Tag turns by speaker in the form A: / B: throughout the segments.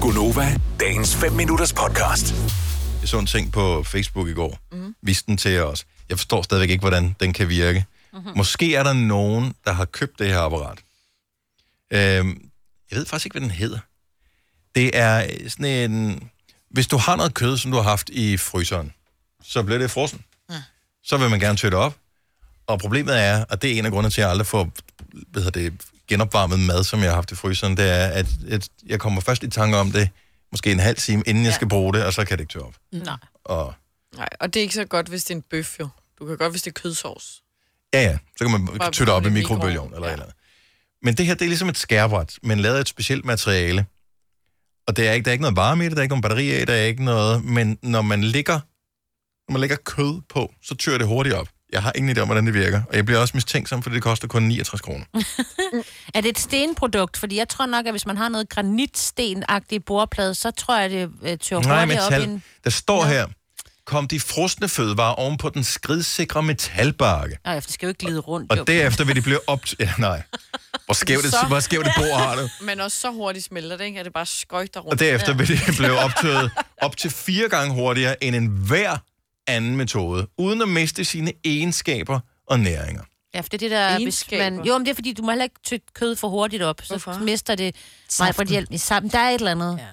A: Gunova, dagens 5 minutters podcast.
B: Jeg så en ting på Facebook i går. Mm. Viste den til os. Jeg forstår stadigvæk ikke, hvordan den kan virke. Mm-hmm. Måske er der nogen, der har købt det her apparat. Øhm, jeg ved faktisk ikke, hvad den hedder. Det er sådan en... Hvis du har noget kød, som du har haft i fryseren, så bliver det frossen. Mm. Så vil man gerne tøtte op. Og problemet er, og det er en af grundene til, at jeg aldrig får hvad hedder det, genopvarmet mad, som jeg har haft i fryseren, det er, at, at jeg kommer først i tanke om det, måske en halv time, inden ja. jeg skal bruge det, og så kan det ikke tørre op.
C: Nej.
B: Og
C: Nej, og det er ikke så godt, hvis det er en bøf, jo. Du kan godt, hvis det er kødsovs.
B: Ja, ja. Så kan man
C: Bare
B: tytte op i
C: putte det i
B: mikrobølgeovnen
C: mikroovnen,
B: eller ja.
C: ja.
B: eller andet. Men det her, det er ligesom et skærbræt, men lavet af et specielt materiale. Og det er ikke, der er ikke noget varme i det, der er ikke nogen batteri i, der er ikke noget... Men når man ligger, når man lægger kød på, så tør det hurtigt op. Jeg har ingen idé om, hvordan det virker. Og jeg bliver også mistænksom, fordi det koster kun 69 kroner.
D: Er det et stenprodukt? Fordi jeg tror nok, at hvis man har noget granitstenagtigt bordplade, så tror jeg, det øh, tør
B: Nej,
D: hurtigt op i
B: metal.
D: en...
B: Der står her, kom de frosne fødevarer oven på den skridsikre metalbakke.
D: Nå, det skal jo ikke glide rundt. jo.
B: Og derefter vil de blive op... Ja, nej. Hvor skævt det,
C: Så-
B: hvor skævt det bord har du?
C: Men også så hurtigt smelter det, ikke? At det bare skøjter rundt.
B: Og derefter vil det blive optøet op til fire gange hurtigere end enhver anden metode, uden at miste sine egenskaber og næringer.
D: Ja, for det er det der... Hvis
C: Egenskaber.
D: man... Jo, men det er fordi, du må heller ikke tykke kød for hurtigt op. Så
C: Hvorfor?
D: Hvorfor? mister det mig for hjælp i sammen. Der er et eller andet. Ja.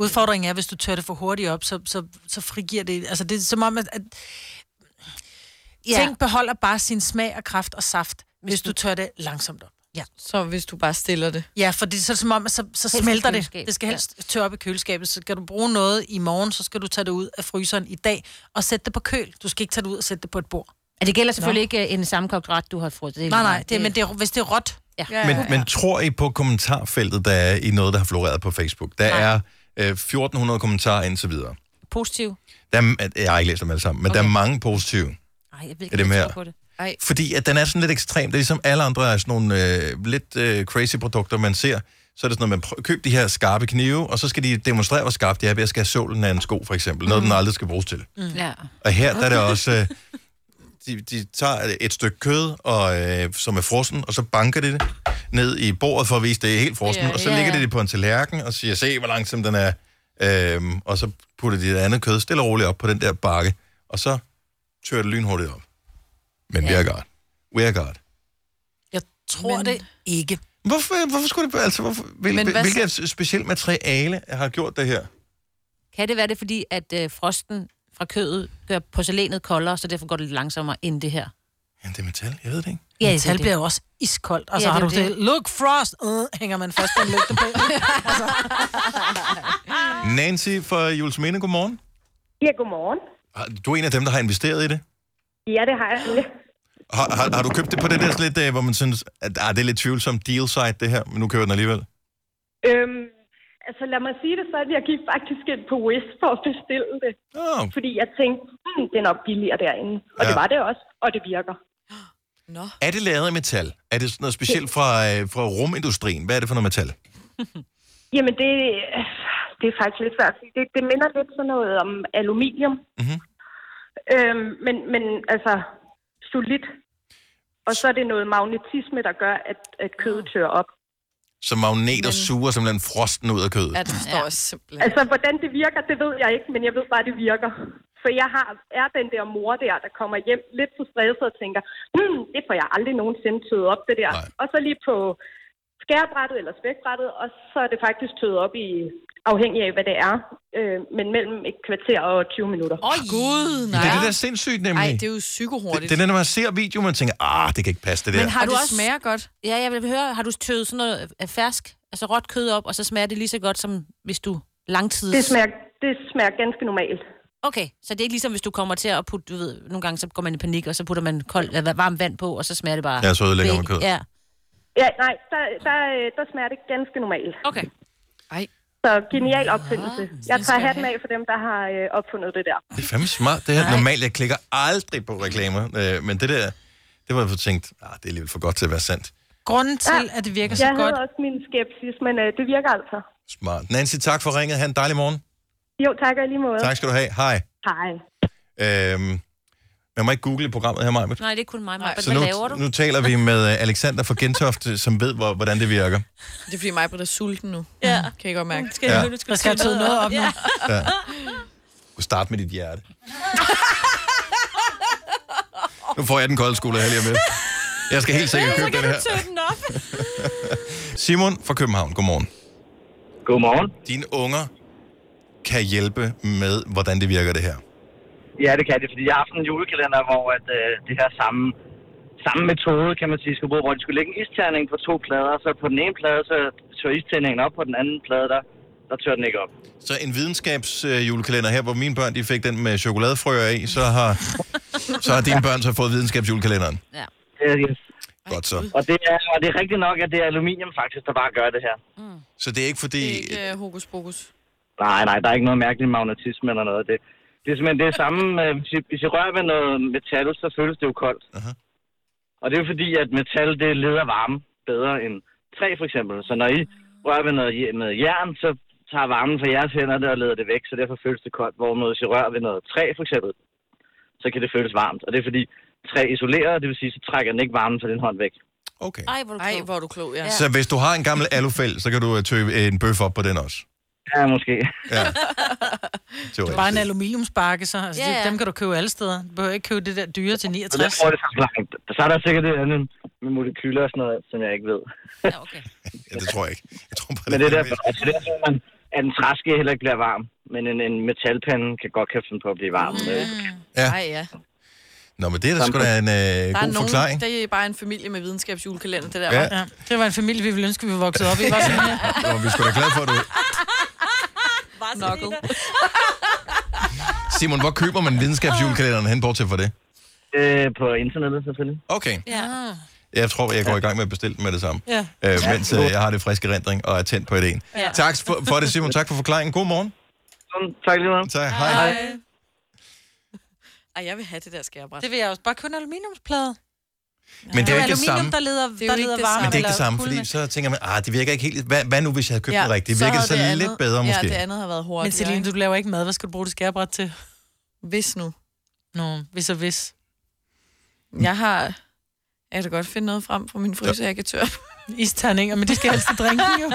E: Udfordringen er, hvis du tør det for hurtigt op, så, så, så frigiver det... Altså, det er som om, at, at ja. ting beholder bare sin smag og kraft og saft, hvis du tør det langsomt op.
C: Så hvis du bare stiller det.
E: Ja, for det er så som om, at så, så
D: i
E: smelter det.
D: køleskab,
E: Det skal helst tørre op i køleskabet. Så skal du bruge noget i morgen, så skal du tage det ud af fryseren i dag og sætte det på køl. Du skal ikke tage det ud og sætte det på et bord.
D: Og det gælder selvfølgelig Nå. ikke øh, en sammenkogt ret, du har fået. Det er
E: Nej,
D: lige
E: nej,
D: meget.
E: det, men det er, hvis det er råt,
C: Ja,
B: Men, men tror I på kommentarfeltet, der er i noget, der har floreret på Facebook? Der er øh, 1400 kommentarer indtil videre.
D: Positiv.
B: Der er, jeg har ikke læst dem alle sammen, men okay. der er mange positive.
D: Ej, jeg ved ikke,
B: Er det
D: om jeg
B: mere?
D: tror på det.
B: Fordi at den er sådan lidt ekstrem. Det er ligesom alle andre af sådan nogle øh, lidt øh, crazy produkter, man ser. Så er det sådan, at man prø- køber de her skarpe knive, og så skal de demonstrere, hvor skarpt de er ved at skære sålen af en sko, for eksempel.
C: Mhm.
B: Noget, den aldrig skal bruges til.
D: Ja.
B: Og her der er det også... Øh, de, de tager et stykke kød, og, øh, som er frossen, og så banker de det ned i bordet for at vise, at det er helt frossen.
C: Ja,
B: og så
D: ja,
B: lægger
D: ja.
B: de det på en tallerken og siger, se hvor langsom den er. Øhm, og så putter de det andet kød stille og roligt op på den der bakke, og så tør det lynhurtigt op. Men ja. we are God. We are God.
E: jeg tror
C: Men-
E: men... det ikke.
B: Hvorfor, hvorfor skulle det... Altså, hvorfor, hvil,
C: Men hvad
B: hvilket specielt materiale har gjort det her?
D: Kan det være det, fordi at øh, frosten fra kødet gør porcelænet koldere, så derfor går det lidt langsommere end det her?
B: Ja, det er metal, jeg ved det ikke.
D: Ja, det er
E: Metal
D: det.
E: bliver jo også iskoldt, og så
D: Ja,
E: ja, har
D: det
E: du
D: er
E: det.
D: det.
E: Look frost! Øh, hænger man først en lygte på.
B: Nancy fra Julesminde, godmorgen.
F: Ja, godmorgen.
B: Har- Du er en af dem, der har investeret i det.
F: Ja, det har jeg.
B: Har, har, har du købt det på det der sådan lidt, øh, hvor man synes, at ah, det er lidt tvivlsomt deal site det her, men nu køber jeg den alligevel?
F: Øhm, altså lad mig sige det sådan, jeg gik faktisk ind på Wish for at bestille det.
B: Oh,
F: Fordi jeg tænkte, hmm, det er nok billigere derinde. Og
B: Ja.
F: ja. det var det også, og det virker.
C: Nå.
B: er det lavet af metal? Er det sådan noget specielt fra, øh, fra rumindustrien? Hvad er det for noget metal?
F: Jamen det, det er faktisk lidt svært. at sige. Det, det minder lidt sådan noget om aluminium.
B: Mhm.
F: Øhm, men, men altså solidt. Og så er det noget magnetisme, der gør, at, at kødet tør op.
B: Som magneter suger simpelthen frosten ud af kødet.
C: Ja, det forstår jeg simpelthen.
F: Altså, hvordan det virker, det ved jeg ikke, men jeg ved bare, det virker. For jeg har, er den der mor der, der kommer hjem lidt for stresset og tænker, hmm, det får jeg aldrig nogensinde tøet op, det der.
B: Nej.
F: Nej. Og så lige på skærbrættet eller spækbrættet, og så er det faktisk tøet op i, afhængig af hvad det er, øh, men mellem et kvarter og 20 minutter.
C: Åh, oh, gud, nej.
B: Det er det der er sindssygt nemlig.
C: Ej,
B: Ej,
C: det
B: det,
C: er jo
B: det,
C: psykohurtigt.
B: det er, når man ser video, man tænker, ah, det kan ikke passe det der.
C: Men har
D: Og
C: du
D: det
C: også... smager godt?
D: Ja, jeg vil høre, har du tøvet sådan noget af fersk, altså råt kød op, og så smager det lige så godt, som hvis du langtids...
F: Det smager, det smager ganske normalt.
D: Okay, så det er ikke ligesom, hvis du kommer til at putte, du ved, nogle gange så går man i panik, og så putter man kold, øh, varmt vand på, og så smager det bare...
B: Ja, så ødelægger man
D: væk.
B: kødet.
D: Ja,
F: Ja, nej, der, der, øh, der smager det ganske normalt.
D: okay.
C: Ej,
F: Så genial opfindelse. Jeg
C: den skal
F: tager
C: jeg
F: hatten
C: have.
F: af for dem, der har øh, opfundet det der.
B: Det er fandme smart. Det her normalt, jeg klikker aldrig på reklamer, øh, men det der, det var jeg for tænkt, ah, det er alligevel for godt til at være sandt.
E: Grunden til, at det virker så
F: Jeg
E: godt,
F: havde også min skepsis, men øh, det virker altså.
B: Smart. Nancy, tak for ringet. Ha' en dejlig morgen.
F: Jo, tak og i lige måde.
B: Tak skal du have. Hej.
F: Hej.
B: Øhm, Man må ikke google i programmet her, Maja.
D: Nej, det er kun mig, Maja.
B: Så
D: Hvad laver du?
B: nu, nu taler vi med øh, Alexander fra Gentofte, som ved, hvor, hvordan det virker.
C: Det er fordi mig, er sulten nu. Mm.
D: Ja.
C: Kan jeg godt mærke.
D: Skal
B: Ja.
D: ja. nu,
E: Der skal jeg tøde noget op nu.
D: Ja.
B: Du start med dit hjerte. Nu får jeg den kolde skole her lige om lidt. Jeg skal helt sikkert købe den her.
D: Tød den op.
B: Simon fra København, godmorgen.
G: Godmorgen.
B: Dine unger kan hjælpe med, hvordan det virker det her.
G: Ja, det kan det, fordi jeg har haft en julekalender, hvor at, øh, det her samme, samme metode, kan man sige, skulle bruge, hvor de skulle lægge en isterning på to plader, så på den ene plade, så tør istændingen op, på den anden plade, der, der tør den ikke op.
B: Så en videnskabsjulekalender her, hvor mine børn de fik den med chokoladefrøer i, så har, så har dine børn så fået videnskabsjulekalenderen.
D: Ja.
G: Øh, yes.
B: Godt så.
G: og, det er, og det er rigtigt nok, at det er aluminium faktisk, der bare gør det her.
B: Så det er ikke
C: Det er
B: fordi...
C: ikke uh, hokus pokus.
G: Nej, nej, der er ikke noget mærkelig magnetisme eller noget. Det, det er simpelthen det samme. øh, Hvis I, hvis I rører ved noget metal, så føles det jo koldt.
B: Aha.
G: Og det er jo fordi, at metal det leder varme bedre end træ for eksempel. Så når I rører ved noget je- med jern, så tager varmen fra jeres hænder det og leder det væk, så derfor føles det koldt. Hvorimod hvis I rører ved noget træ for eksempel, så kan det føles varmt. Og det er fordi træ isolerer, det vil sige, så trækker den ikke varmen fra din hånd væk.
B: Okay.
D: Ej, hvor er du
C: Ej,
D: klog.
C: hvor er du klog, ja.
B: Så hvis du har en gammel alufæld, så kan du øh, tøve en bøf op på den også.
G: Ja, måske.
B: Ja.
E: Bare en
B: Teoretisk.
E: aluminiumsbakke, så. Altså,
D: Ja,
E: yeah.
D: ja.
E: Dem kan du købe alle steder. Du behøver ikke købe det der dyre til
G: Så det
E: 69.
G: tror jeg, det er så langt. Så er der sikkert det andet med molekyler og sådan noget, som jeg ikke ved.
D: Ja, okay.
B: Ja, det tror jeg ikke. Jeg tror bare,
G: Men det er
B: det
G: derfor, altså det er derfor man, at en træske heller ikke bliver varm, men en, en metalpande kan godt kan finde på at blive varm. Mm.
B: Ja.
C: Ej, ja.
B: Nå, men det er da sgu da en øh,
C: Der er
B: god
C: nogen,
B: forklaring.
C: der er bare en familie med videnskabsjulekalender, det der.
B: Ja.
C: Ja.
E: Ja, det var en familie, vi ville ønske, vi var vokset op i. Var sådan, "Ah, ja.
B: Og vi er sgu da glade for, at du...
C: Knuckle.
B: Simon, hvor køber man videnskabsjulekalenderen hen bort til for det?
G: Øh, på internettet selvfølgelig.
B: Okay.
D: Ja.
B: Jeg tror, jeg går i gang med at bestille den med det samme.
E: Ja.
B: Øh, mens øh, jeg har det friske rendring og er tændt på ideen.
D: Ja.
B: Tak for, for det, Simon. Tak for forklaringen. God morgen.
G: Sådan, Mm, tak lige meget.
B: Tak. Hej. Hej.
C: Ej, jeg vil have det der skærebræt.
E: Det vil jeg også. Bare købe en aluminiumsplade.
B: Men det er jo
E: Det er
B: ikke det
E: aluminium,
B: samme.
E: der leder,
C: jo
E: der
C: ikke
E: leder
C: det
E: varme.
C: samme.
B: Men det er ikke
E: eller
B: det samme, fordi
E: kulde.
B: så tænker man, ah, det virker ikke helt... Hvad, hvad nu, hvis jeg havde købt
C: Ja,
B: den rigtigt?
C: så
B: Virker det
C: havde
B: så
C: det
B: lidt
C: andet-
B: bedre,
C: Ja,
B: måske?
C: det andet har været
E: Men
C: hurtigt.
E: Celine, du laver ikke mad. Hvad skal du bruge det skærbræt til?
C: Hvis nu.
E: Nå, hvis og hvis.
C: Jeg har... Jeg kan da godt finde noget frem fra min fryser, jeg kan tørre.
E: Isterninger, men det skal helst i drinken jo.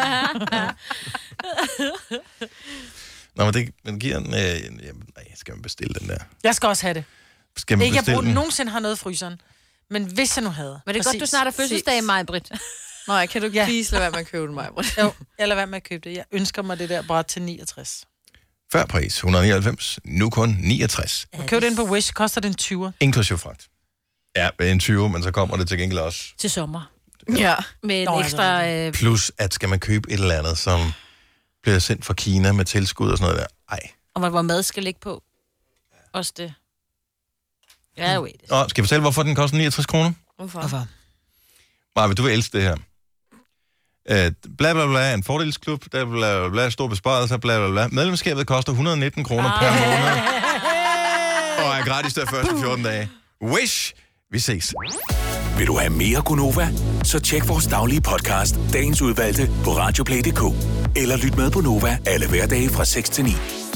B: Nå, men det men giver en... Øh, jamen, nej, skal man bestille den der?
E: Jeg skal også have det.
B: Skal man
E: Ikke at jeg
B: bestille
E: bruger,
B: den?
E: nogensinde har noget i fryseren. Men hvis jeg nu havde.
D: Men det er godt, du
E: Præcis.
D: snart har fødselsdag, Maja Britt.
C: Nå, jeg kan du ikke
E: Ja.
C: ja. please lade være med at købe den mig?
E: Jo, jeg lader være med at købe det. Jeg ønsker mig det der bræt til 69.
B: Før pris 199, nu kun 69.
E: Og køb det ind på Wish, koster den 20.
B: Inklusiv fragt. Ja, en 20, men så kommer det til gengæld også.
D: Til sommer.
C: Ja.
D: Med
E: Nå,
D: en ekstra... Øh,
B: Plus, at skal man købe et eller andet, som bliver sendt fra Kina med tilskud og sådan noget der. Ej.
D: og hvor- hvor mad skal ligge på. Også det. Ja, jo, det.
B: Nå, skal jeg fortælle, hvorfor den koster 69 kroner?
C: Hvorfor?
E: Hvorfor?
B: Maja, du vil elske det her. Øh, Bla bla bla, en fordelsklub, bla bla bla, bla, stor besparelse, bla bla bla. Medlemskabet koster 119 kroner per måned. Og er gratis der første 14 dage. Wish! Vi ses.
A: Vil du have mere Gunova? Så tjek vores daglige podcast, dagens udvalgte, på radioplay.dk. Eller lyt med på Nova alle hverdage fra 6 til 9.